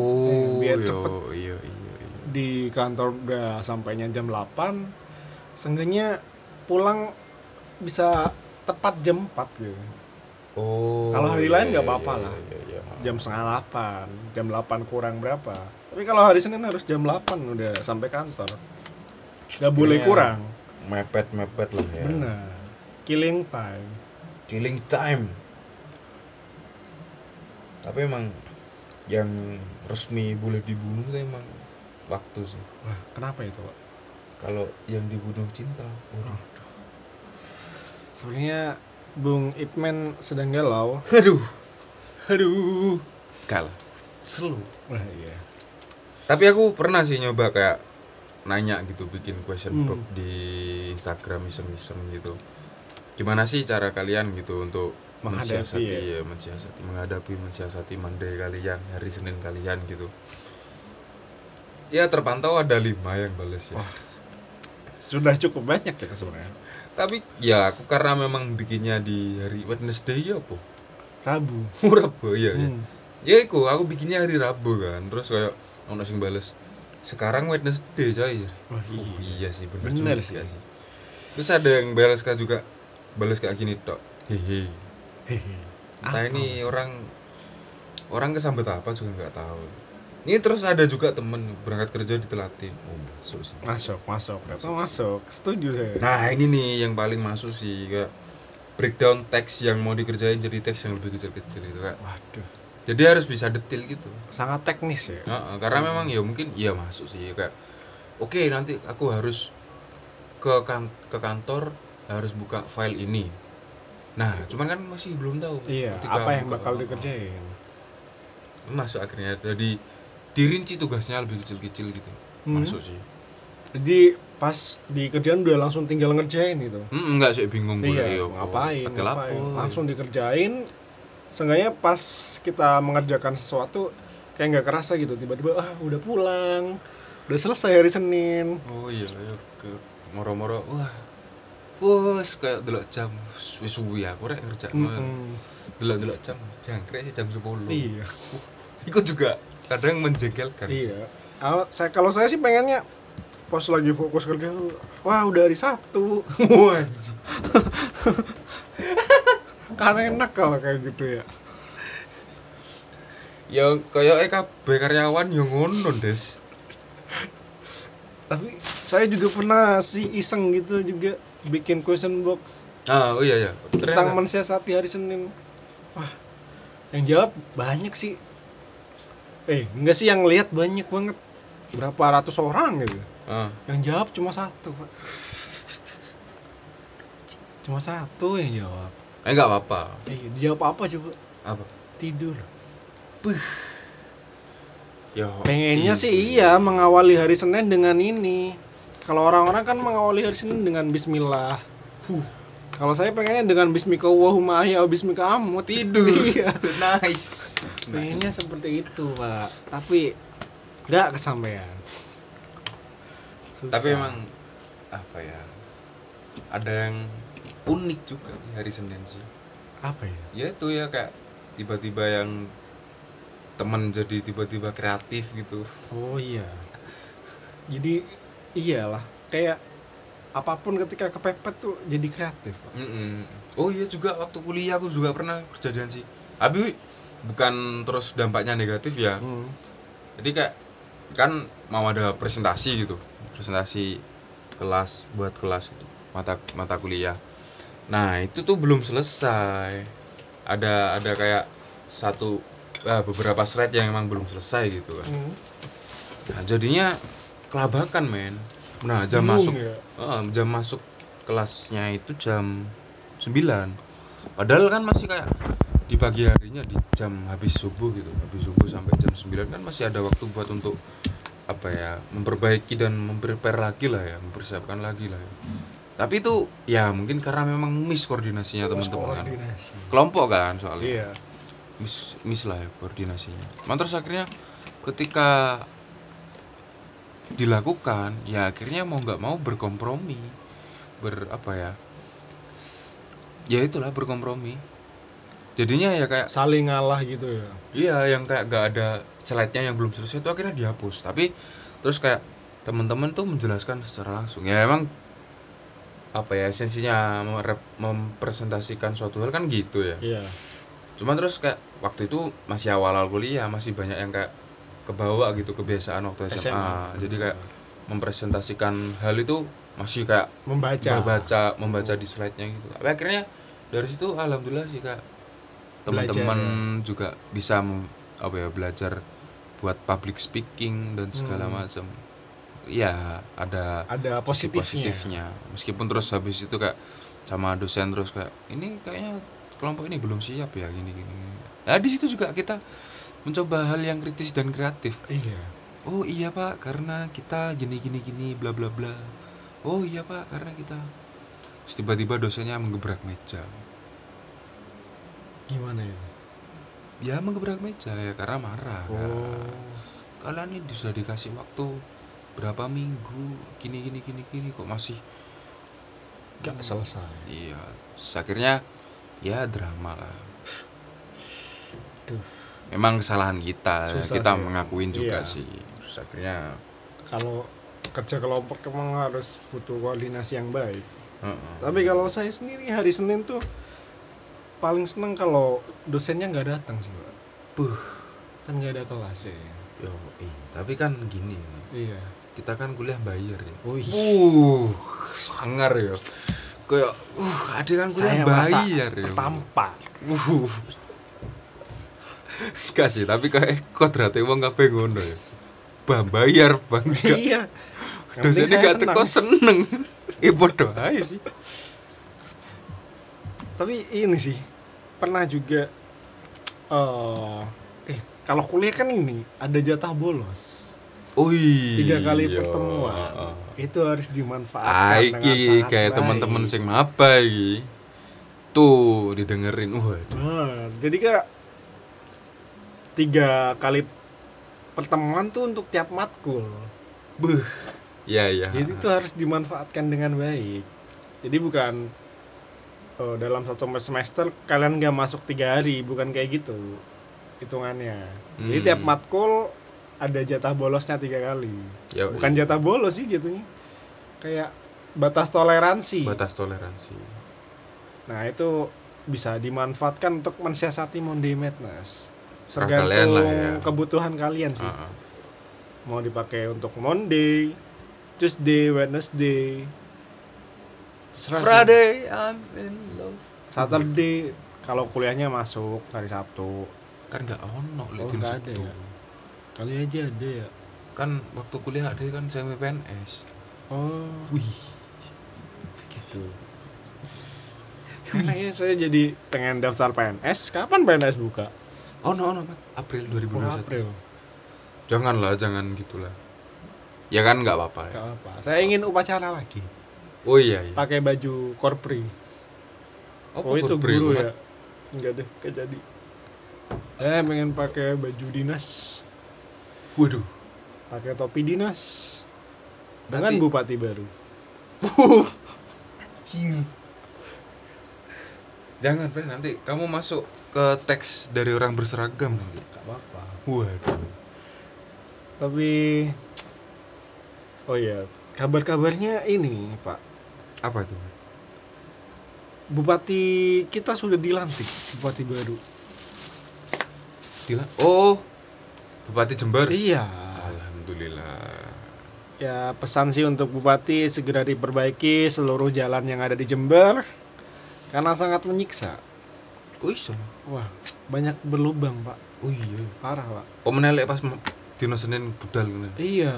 [SPEAKER 2] Oh,
[SPEAKER 1] Biar
[SPEAKER 2] iya,
[SPEAKER 1] cepet.
[SPEAKER 2] iya, iya, iya.
[SPEAKER 1] di kantor udah sampainya jam 8 seenggaknya pulang bisa tepat jam 4 gitu
[SPEAKER 2] Oh.
[SPEAKER 1] Kalau hari
[SPEAKER 2] iya,
[SPEAKER 1] lain nggak
[SPEAKER 2] iya,
[SPEAKER 1] apa-apa
[SPEAKER 2] iya,
[SPEAKER 1] lah.
[SPEAKER 2] iya, iya.
[SPEAKER 1] jam setengah 8 jam 8 kurang berapa tapi kalau hari Senin harus jam 8 udah sampai kantor nggak boleh
[SPEAKER 2] Iya.
[SPEAKER 1] kurang
[SPEAKER 2] mepet mepet lah
[SPEAKER 1] Iya.
[SPEAKER 2] ya
[SPEAKER 1] benar killing time
[SPEAKER 2] killing time tapi emang yang resmi boleh dibunuh tuh emang waktu sih
[SPEAKER 1] wah kenapa itu Pak?
[SPEAKER 2] kalau yang dibunuh cinta waduh.
[SPEAKER 1] sebenarnya Bung Ipman sedang galau
[SPEAKER 2] aduh aduh kalah selu
[SPEAKER 1] wah iya
[SPEAKER 2] tapi aku pernah sih nyoba kayak nanya gitu bikin question
[SPEAKER 1] Hmm.
[SPEAKER 2] box di Instagram iseng-iseng gitu gimana sih cara kalian gitu untuk
[SPEAKER 1] Menghadapi,
[SPEAKER 2] mensiasati
[SPEAKER 1] ya?
[SPEAKER 2] ya, mensiasati menghadapi mensiasati Monday kalian hari Senin kalian gitu ya terpantau ada lima yang bales ya
[SPEAKER 1] sudah cukup banyak ya itu sebenarnya
[SPEAKER 2] tapi ya aku karena memang bikinnya di hari Wednesday ya po
[SPEAKER 1] Rabu
[SPEAKER 2] Rabu ya, ya.
[SPEAKER 1] Hmm.
[SPEAKER 2] ya iku aku bikinnya hari Rabu kan terus kayak ono sing bales sekarang Wednesday coy
[SPEAKER 1] Wah,
[SPEAKER 2] Oh, iya sih bener,
[SPEAKER 1] Bener
[SPEAKER 2] juga sih. terus ada yang bales kayak juga bales kayak gini tok hehe
[SPEAKER 1] Hehe.
[SPEAKER 2] entah
[SPEAKER 1] Apa
[SPEAKER 2] ini orang orang kesambet apa juga nggak tahu ini terus ada juga temen berangkat kerja ditelatin oh masuk sih
[SPEAKER 1] masuk masuk masuk, masuk. setuju saya
[SPEAKER 2] nah ini nih yang paling masuk sih kayak breakdown teks yang mau dikerjain jadi teks yang lebih kecil-kecil gitu kayak
[SPEAKER 1] Waduh,
[SPEAKER 2] jadi harus bisa detail gitu
[SPEAKER 1] sangat teknis ya.
[SPEAKER 2] Heeh, karena memang ya mungkin ya masuk sih kayak oke nanti aku harus ke kan- ke kantor harus buka file ini. Nah, cuman kan masih belum tahu
[SPEAKER 1] Iya,
[SPEAKER 2] ketika
[SPEAKER 1] apa yang
[SPEAKER 2] buka-
[SPEAKER 1] bakal dikerjain?
[SPEAKER 2] Masuk akhirnya jadi dirinci tugasnya lebih kecil-kecil gitu.
[SPEAKER 1] Hmm.
[SPEAKER 2] Masuk sih.
[SPEAKER 1] Jadi pas di kerjaan udah langsung tinggal ngerjain gitu.
[SPEAKER 2] Hmm, enggak sih bingung gue
[SPEAKER 1] iya,
[SPEAKER 2] ya, apa.
[SPEAKER 1] ngapain,
[SPEAKER 2] Detail apa,
[SPEAKER 1] ngapain.
[SPEAKER 2] ya.
[SPEAKER 1] Langsung dikerjain. Seenggaknya pas kita mengerjakan sesuatu kayak nggak kerasa gitu, tiba-tiba ah udah pulang, udah selesai hari Senin.
[SPEAKER 2] Oh iya, iya ke moro-moro wah. Wes kayak delok jam wes wes suwi aku rek ngerjain.
[SPEAKER 1] Mm-mm.
[SPEAKER 2] Delok-delok jam jangkrik sih jam 10.
[SPEAKER 1] Hmm. Iya,
[SPEAKER 2] Itu juga kadang kan. menjengkelkan. sih.
[SPEAKER 1] iya. Ah, saya kalau saya sih pengennya pas lagi fokus kerja, wah udah hari Sabtu,
[SPEAKER 2] Wah, anjing.
[SPEAKER 1] kan enak kalau kayak gitu ya.
[SPEAKER 2] ya kayak kabeh karyawan yang ngono, Des.
[SPEAKER 1] tapi saya juga pernah si iseng gitu juga bikin question box
[SPEAKER 2] Ah, oh iya ya.
[SPEAKER 1] tentang mensiasati hari Senin wah yang jawab banyak sih eh enggak sih yang lihat banyak banget berapa ratus orang gitu
[SPEAKER 2] ah,
[SPEAKER 1] yang jawab cuma satu pak cuma satu yang jawab
[SPEAKER 2] eh enggak apa-apa.
[SPEAKER 1] eh, dijawab apa coba
[SPEAKER 2] Apa?
[SPEAKER 1] tidur
[SPEAKER 2] Ya.
[SPEAKER 1] pengennya sih iya mengawali hari Senin dengan ini kalau orang-orang kan mengawali hari Senin dengan Bismillah
[SPEAKER 2] Huh.
[SPEAKER 1] Kalau saya pengennya dengan bismika wahuma ahya wa bismika amu
[SPEAKER 2] Tidur.
[SPEAKER 1] Iya.
[SPEAKER 2] nice.
[SPEAKER 1] Pengennya seperti itu, Pak. Tapi nggak kesampaian. Susah.
[SPEAKER 2] tapi emang apa ya ada yang unik juga di hari Senin sih
[SPEAKER 1] apa ya?
[SPEAKER 2] ya itu ya kayak tiba-tiba yang temen jadi tiba-tiba kreatif gitu
[SPEAKER 1] Oh iya. Jadi iyalah kayak apapun ketika kepepet tuh jadi kreatif.
[SPEAKER 2] Mm-mm. oh iya juga waktu kuliah aku juga pernah kejadian sih tapi bukan terus dampaknya negatif ya
[SPEAKER 1] Hmm.
[SPEAKER 2] jadi kayak kan mau ada presentasi gitu presentasi kelas buat kelas gitu, mata mata kuliah nah itu tuh belum selesai ada ada kayak satu eh, beberapa thread yang emang belum selesai gitu kan
[SPEAKER 1] Hmm.
[SPEAKER 2] nah, jadinya kelabakan men nah jam
[SPEAKER 1] Bingung
[SPEAKER 2] masuk
[SPEAKER 1] ya?
[SPEAKER 2] eh, jam masuk kelasnya itu jam 9 padahal kan masih kayak di pagi harinya di jam habis subuh gitu habis subuh sampai jam 9 kan masih ada waktu buat untuk apa ya memperbaiki dan memprepare lagi lah ya mempersiapkan lagi lah ya tapi itu ya mungkin karena memang miss koordinasinya teman-teman kan
[SPEAKER 1] Koordinasi.
[SPEAKER 2] kelompok kan soalnya
[SPEAKER 1] Iya.
[SPEAKER 2] miss, miss lah ya koordinasinya. Cuman terus akhirnya ketika dilakukan, ya akhirnya mau nggak mau berkompromi, ber apa ya? Ya itulah berkompromi. Jadinya ya kayak
[SPEAKER 1] Iya. Saling ngalah gitu ya.
[SPEAKER 2] Iya, yang kayak gak ada celetnya yang belum selesai itu akhirnya dihapus. Tapi terus kayak teman-teman tuh menjelaskan secara langsung. Ya emang apa ya esensinya merep- mempresentasikan suatu hal kan gitu ya.
[SPEAKER 1] Iya.
[SPEAKER 2] Cuma terus kayak waktu itu masih awal-awal kuliah, masih banyak yang kayak kebawa gitu kebiasaan waktu SMA.
[SPEAKER 1] SMA.
[SPEAKER 2] Jadi kayak mempresentasikan hal itu masih kayak
[SPEAKER 1] Membaca.
[SPEAKER 2] membaca membaca di slide-nya gitu. Tapi akhirnya dari situ alhamdulillah sih Kak. Teman-teman juga bisa mem- apa ya belajar buat public speaking dan segala macam. Ya, ada
[SPEAKER 1] Ada
[SPEAKER 2] sisi
[SPEAKER 1] positifnya.
[SPEAKER 2] positifnya. Meskipun terus habis itu kayak sama dosen terus kayak ini kayaknya kelompok ini belum siap ya gini gini. gini." Nah, di situ juga kita mencoba hal yang kritis dan kreatif.
[SPEAKER 1] Iya.
[SPEAKER 2] Oh iya pak, karena kita gini gini gini bla bla bla. Oh iya pak, karena kita. Terus tiba-tiba dosennya menggebrak meja.
[SPEAKER 1] Gimana ya?
[SPEAKER 2] Ya menggebrak meja ya karena marah. Kak.
[SPEAKER 1] Oh.
[SPEAKER 2] Kalian ini sudah dikasih waktu berapa minggu gini gini gini gini kok masih
[SPEAKER 1] Gak selesai.
[SPEAKER 2] Iya, terus akhirnya ya drama lah.
[SPEAKER 1] Duh.
[SPEAKER 2] Memang kesalahan kita,
[SPEAKER 1] Susah
[SPEAKER 2] kita
[SPEAKER 1] sih.
[SPEAKER 2] mengakuin juga
[SPEAKER 1] Iya.
[SPEAKER 2] sih. Terus akhirnya,
[SPEAKER 1] Kalau kerja kelompok emang harus butuh koordinasi yang baik.
[SPEAKER 2] heeh.
[SPEAKER 1] Tapi kalau saya sendiri hari Senin tuh paling seneng kalau dosennya nggak datang sih, Pak.
[SPEAKER 2] Puh,
[SPEAKER 1] Kan nggak ada kelas ya.
[SPEAKER 2] yo, eh, tapi kan gini,
[SPEAKER 1] Iya.
[SPEAKER 2] kita kan kuliah bayar ya.
[SPEAKER 1] Oh, Wih.
[SPEAKER 2] Uh, sangar ya. Kayak, uh, ada kan kuliah bayar ya.
[SPEAKER 1] tampak.
[SPEAKER 2] Uh. Gak sih, tapi kayak kodratnya uang kabeh ngono ya. Bang bayar, bang gak.
[SPEAKER 1] iya. Yang penting
[SPEAKER 2] dosennya
[SPEAKER 1] saya
[SPEAKER 2] gak
[SPEAKER 1] senang.
[SPEAKER 2] teko seneng eh bodoh aja sih
[SPEAKER 1] Tapi ini sih pernah juga eh eh kalau kuliah kan ini ada jatah bolos.
[SPEAKER 2] Ui,
[SPEAKER 1] Tiga kali
[SPEAKER 2] iya.
[SPEAKER 1] pertemuan. Itu harus dimanfaatkan
[SPEAKER 2] Ah,
[SPEAKER 1] dengan
[SPEAKER 2] iki
[SPEAKER 1] sangat
[SPEAKER 2] kayak
[SPEAKER 1] baik.
[SPEAKER 2] teman-teman sing apa iki tuh didengerin waduh
[SPEAKER 1] Nah, jadi kayak tiga kali pertemuan tuh untuk tiap matkul.
[SPEAKER 2] beuh ya ya
[SPEAKER 1] Jadi itu harus dimanfaatkan dengan baik. Jadi bukan eh, dalam satu semester kalian nggak masuk tiga hari, bukan kayak gitu hitungannya. Jadi
[SPEAKER 2] Hmm.
[SPEAKER 1] tiap matkul ada jatah bolosnya tiga kali.
[SPEAKER 2] Yo,
[SPEAKER 1] Bukan
[SPEAKER 2] iya.
[SPEAKER 1] jatah bolos sih jatuhnya. Kayak batas toleransi.
[SPEAKER 2] batas toleransi
[SPEAKER 1] Nah itu bisa dimanfaatkan untuk mensiasati Monday Madness.
[SPEAKER 2] Serah kalian
[SPEAKER 1] Tergantung
[SPEAKER 2] lah ya.
[SPEAKER 1] kebutuhan kalian sih.
[SPEAKER 2] Ah, ah.
[SPEAKER 1] Mau dipakai untuk Monday, Tuesday, Wednesday, terserah sih.
[SPEAKER 2] Friday I'm in love
[SPEAKER 1] Saturday kalau kuliahnya masuk hari Sabtu.
[SPEAKER 2] kan nggak ono lek
[SPEAKER 1] Oh,
[SPEAKER 2] dino
[SPEAKER 1] nggak ada
[SPEAKER 2] Sabtu.
[SPEAKER 1] ya? Kali aja ada ya.
[SPEAKER 2] kan waktu kuliah ada kan saya PNS
[SPEAKER 1] Oh,
[SPEAKER 2] wih
[SPEAKER 1] gitu. Kayaknya saya jadi pengen daftar PNS. Kapan PNS buka?
[SPEAKER 2] ono ono Mas. April
[SPEAKER 1] Oh,
[SPEAKER 2] 2021
[SPEAKER 1] April.
[SPEAKER 2] janganlah jangan gitulah ya kan nggak apa-apa ya.
[SPEAKER 1] Gak apa. Saya ingin upacara lagi.
[SPEAKER 2] oh iya iya
[SPEAKER 1] Pakai baju korpri.
[SPEAKER 2] Apa
[SPEAKER 1] Oh, itu
[SPEAKER 2] Burberry,
[SPEAKER 1] guru
[SPEAKER 2] Mas?
[SPEAKER 1] ya? Enggak deh, kayak jadi. Eh, pengen pakai baju dinas,
[SPEAKER 2] Waduh,
[SPEAKER 1] pakai topi dinas. dengan
[SPEAKER 2] Berarti-
[SPEAKER 1] bupati baru.
[SPEAKER 2] Anjir. Jangan, Fren, nanti kamu masuk ke teks dari orang berseragam nanti.
[SPEAKER 1] Gak apa-apa.
[SPEAKER 2] Waduh.
[SPEAKER 1] Tapi oh ya, kabar-kabarnya ini, Pak.
[SPEAKER 2] Apa itu?
[SPEAKER 1] Bupati kita sudah dilantik, bupati baru.
[SPEAKER 2] Dila. Oh. Bupati Jember.
[SPEAKER 1] Iya.
[SPEAKER 2] Alhamdulillah.
[SPEAKER 1] Ya, pesan sih untuk bupati segera diperbaiki seluruh jalan yang ada di Jember karena sangat menyiksa.
[SPEAKER 2] Kok iso?
[SPEAKER 1] Wah, banyak berlubang, Pak.
[SPEAKER 2] Oh iya.
[SPEAKER 1] Parah, Pak.
[SPEAKER 2] Kok menelek pas mem- dino Senin budal ngene.
[SPEAKER 1] Iya.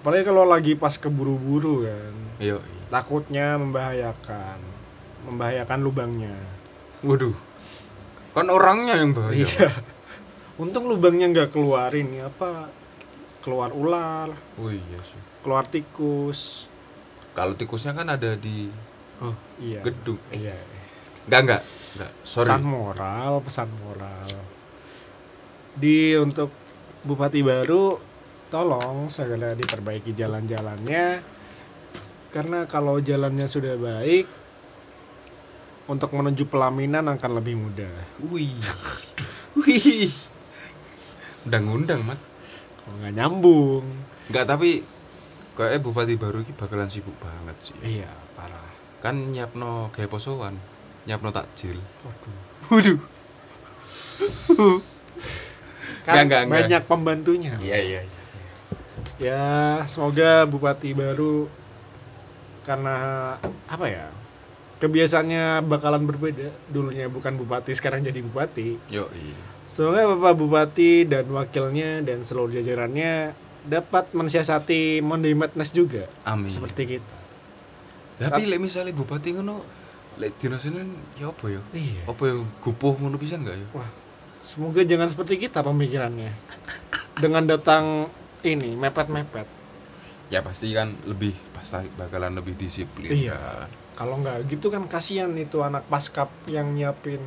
[SPEAKER 1] Apalagi kalau lagi pas keburu-buru kan,
[SPEAKER 2] Iya.
[SPEAKER 1] takutnya membahayakan, membahayakan lubangnya.
[SPEAKER 2] Waduh. Kan orangnya yang bahaya.
[SPEAKER 1] Iya. Untung lubangnya nggak keluarin ya apa keluar ular,
[SPEAKER 2] Oh iya sih.
[SPEAKER 1] keluar tikus.
[SPEAKER 2] Kalau tikusnya kan ada di
[SPEAKER 1] Oh, iya.
[SPEAKER 2] gedung.
[SPEAKER 1] Iya.
[SPEAKER 2] Enggak, enggak. Enggak. Sorry.
[SPEAKER 1] Pesan moral, pesan moral. Di untuk bupati baru tolong segera diperbaiki jalan-jalannya karena kalau jalannya sudah baik untuk menuju pelaminan akan lebih mudah.
[SPEAKER 2] Wih. Wih. Undang-undang, Mat.
[SPEAKER 1] Kalau nggak nyambung.
[SPEAKER 2] Enggak, tapi kayaknya bupati baru ini bakalan sibuk banget sih.
[SPEAKER 1] Iya, parah.
[SPEAKER 2] Kan nyiapno gaya posoan, nyiapno takjil.
[SPEAKER 1] Waduh.
[SPEAKER 2] Waduh.
[SPEAKER 1] Kan
[SPEAKER 2] Nggak, nggak, nggak.
[SPEAKER 1] banyak pembantunya.
[SPEAKER 2] Iya, iya, iya.
[SPEAKER 1] Ya, semoga bupati baru karena apa ya? Kebiasaannya bakalan berbeda. Dulunya bukan bupati, sekarang jadi bupati.
[SPEAKER 2] Yo, iya.
[SPEAKER 1] Semoga Bapak Bupati dan wakilnya dan seluruh jajarannya dapat mensiasati Monday Madness juga
[SPEAKER 2] Amin.
[SPEAKER 1] seperti kita.
[SPEAKER 2] Tapi lek misale bupati ngono, lek dina Senin ya apa ya?
[SPEAKER 1] Iya.
[SPEAKER 2] Apa ya gupuh ngono pisan enggak ya?
[SPEAKER 1] Wah, semoga jangan seperti kita pemikirannya. Dengan datang ini mepet-mepet.
[SPEAKER 2] Ya pasti kan lebih pasti bakalan lebih disiplin.
[SPEAKER 1] Iya. Kalau nggak gitu kan kasihan itu anak paskap yang nyiapin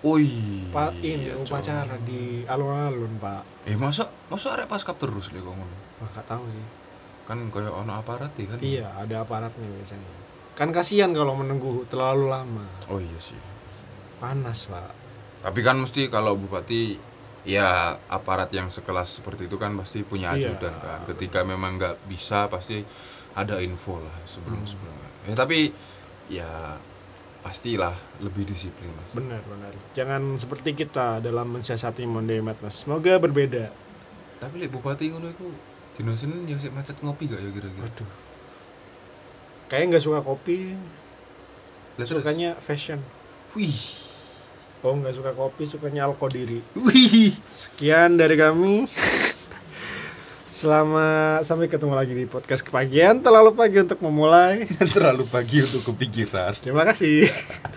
[SPEAKER 2] Oi.
[SPEAKER 1] Pak
[SPEAKER 2] Iya,
[SPEAKER 1] ini upacara di alun-alun pak
[SPEAKER 2] Eh masa masa arek paskap terus lek kok ngono.
[SPEAKER 1] Wah gak tahu sih
[SPEAKER 2] Kan koyo ono aparat ya kan.
[SPEAKER 1] Iya ada aparatnya biasanya Kan kasihan kalau menunggu terlalu lama
[SPEAKER 2] Oh iya sih.
[SPEAKER 1] Panas pak
[SPEAKER 2] Tapi kan mesti kalau bupati ya aparat yang sekelas seperti itu kan pasti punya
[SPEAKER 1] Iya.
[SPEAKER 2] ajudan kan. Ketika memang nggak bisa pasti ada info lah
[SPEAKER 1] Hmm.
[SPEAKER 2] sebelum sebelumnya. Ya tapi ya pastilah lebih disiplin mas.
[SPEAKER 1] Benar benar Jangan seperti kita dalam mensiasati Monday Madness Semoga berbeda
[SPEAKER 2] tapi lek bupati ngono iku dino Senin ya sik macet ngopi gak ya kira-kira.
[SPEAKER 1] Waduh Kayaknya nggak suka kopi
[SPEAKER 2] Lah terus?
[SPEAKER 1] Sukanya fashion
[SPEAKER 2] Wih.
[SPEAKER 1] Oh nggak suka kopi sukanya alkohol diri
[SPEAKER 2] Wih.
[SPEAKER 1] Sekian dari kami Selamat sampai ketemu lagi di podcast kepagian Terlalu pagi untuk memulai
[SPEAKER 2] Terlalu pagi untuk kepikiran.
[SPEAKER 1] Terima kasih